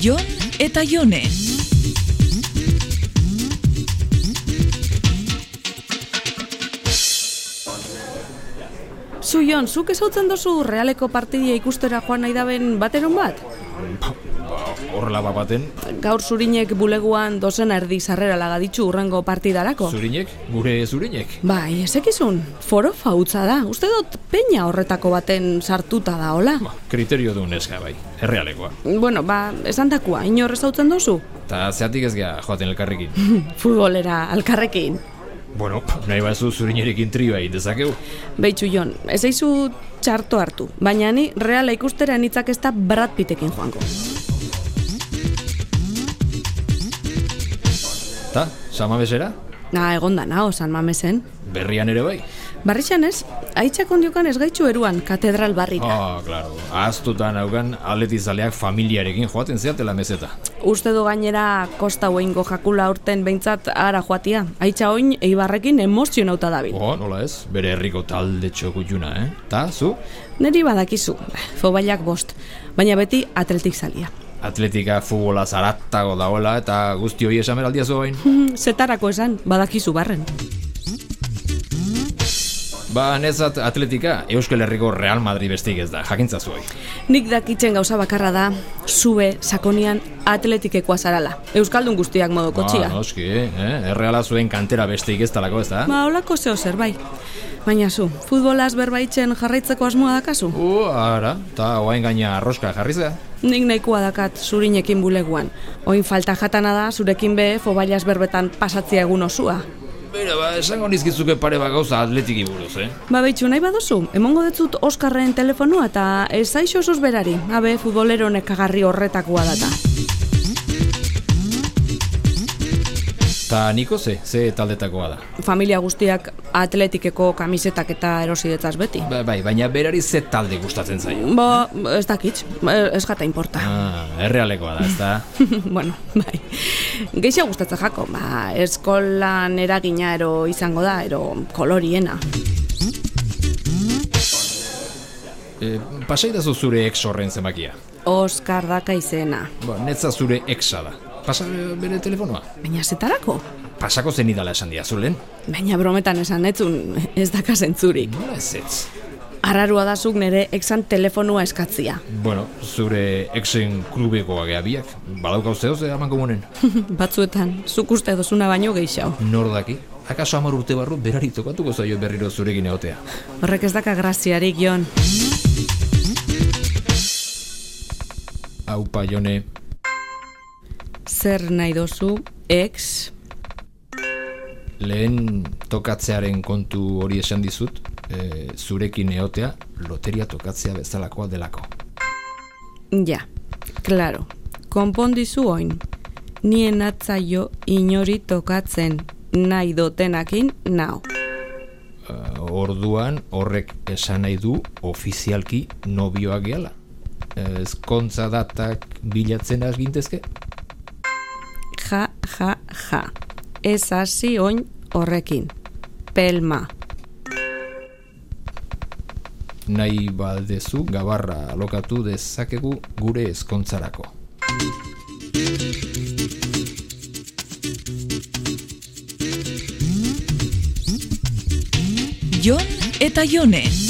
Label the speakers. Speaker 1: Jon eta Jone.
Speaker 2: Zu Jon, zuk ezautzen duzu realeko partidia ikustera joan nahi daben bateron bat?
Speaker 3: Horrela bat baten,
Speaker 2: Gaur zurinek buleguan dozen erdi sarrera lagaditzu urrengo partidarako.
Speaker 3: zurinek, gure zurinek.
Speaker 2: Bai, ezekizun, foro fautza da. Uste dut peña horretako baten sartuta da, hola?
Speaker 3: Ba, kriterio du neska bai, errealekoa.
Speaker 2: Bueno, ba, esan dakua, inor ezautzen duzu?
Speaker 3: Ta zeatik ez gea joaten elkarrekin.
Speaker 2: Futbolera, alkarrekin.
Speaker 3: bueno, nahi bazu zurinerekin trioa egin dezakegu.
Speaker 2: Beitzu Jon, ez eizu txarto hartu, baina ni reala ikustera nitzak ez da Brad Pittekin joango.
Speaker 3: Ta, sama besera?
Speaker 2: Na, egon da nao, San Mamesen.
Speaker 3: Berrian ere bai?
Speaker 2: Barrixan ez, aitzak ondiokan ez gaitxu eruan, katedral barrira.
Speaker 3: Ah, claro. Ahaztuta naukan atletizaleak familiarekin joaten zeatela mezeta.
Speaker 2: Uste du gainera kosta huengo jakula aurten behintzat ara joatia. Aitza oin eibarrekin emozionauta dabil.
Speaker 3: Oh, nola ez? Bere herriko talde txokutuna, eh? Ta, zu?
Speaker 2: Neri badakizu, fobailak bost, baina beti atletik zalia.
Speaker 3: Atletika futbola zaratago dagoela eta guzti hori esan beraldia zoain.
Speaker 2: Hmm, Zetarako esan, badakizu barren.
Speaker 3: Ba, nezat atletika Euskal Herriko Real Madrid bestik ez da, jakintza zuei.
Speaker 2: Nik dakitzen gauza bakarra da, zue sakonian atletikekoa zarala. Euskaldun guztiak modoko txia.
Speaker 3: Ah, noski, eh? Erreala zuen kantera bestik ez talako ez da?
Speaker 2: Ba, holako zeo bai. Baina zu, futbolaz berbaitzen jarraitzeko asmoa dakazu?
Speaker 3: U, ara, eta oain gaina arroska jarri zea.
Speaker 2: Nik nahikoa dakat zurinekin buleguan. Oin falta jatana da, zurekin be, fobailaz berbetan pasatzia egun osua.
Speaker 3: Bera, ba, esango nizkizuke pare bat gauza atletiki buruz, eh?
Speaker 2: Ba, behitxu, nahi baduzu, emongo detzut Oskarren telefonua eta ezaizu osuz berari, abe futbolero nekagarri horretakoa data.
Speaker 3: Ta niko ze, ze taldetakoa da.
Speaker 2: Familia guztiak atletikeko kamisetak eta erosi detzaz beti.
Speaker 3: Ba, bai, baina berari ze talde gustatzen zaio.
Speaker 2: Ba, ez dakit, eh, ez jata importa.
Speaker 3: Ah, errealekoa da, ez da?
Speaker 2: bueno, bai. Geixa gustatzen jako, ba, eskolan eragina ero izango da, ero koloriena.
Speaker 3: e, pasaidazu zure ex horren zemakia.
Speaker 2: Oskar daka izena.
Speaker 3: Ba, netza zure exa da. Pasa e, bere telefonoa.
Speaker 2: Baina zetarako?
Speaker 3: Pasako zen idala esan diazu lehen?
Speaker 2: Baina brometan esan etzun, ez daka zentzurik.
Speaker 3: Nola ez ez?
Speaker 2: Arrarua da zuk nere exan telefonua eskatzia.
Speaker 3: Bueno, zure exen klubekoa gea biak. Badaukau zeo ze haman komunen.
Speaker 2: Batzuetan, zuk uste dozuna baino gehiago.
Speaker 3: Nor daki? Akaso hamar urte barru berari tokatuko zaio berriro zurekin egotea.
Speaker 2: Horrek ez daka graziarik, Jon.
Speaker 3: Aupa jone,
Speaker 2: Zer nahi dozu, ex,
Speaker 3: lehen tokatzearen kontu hori esan dizut, e, zurekin egotea loteria tokatzea bezalakoa delako.
Speaker 2: ja, klaro, konpondizu oin. Nien atzaio inori tokatzen, nahi dotenakin nao.
Speaker 3: E, orduan horrek esan nahi du ofizialki nobioa gehala. Eh, Ezkontza datak bilatzen has gintezke?
Speaker 2: Ja, ja, ja. Ez hasi oin horrekin. Pelma.
Speaker 3: Nahi badezu gabarra alokatu dezakegu gure ezkontzarako.
Speaker 1: Jon eta Jone.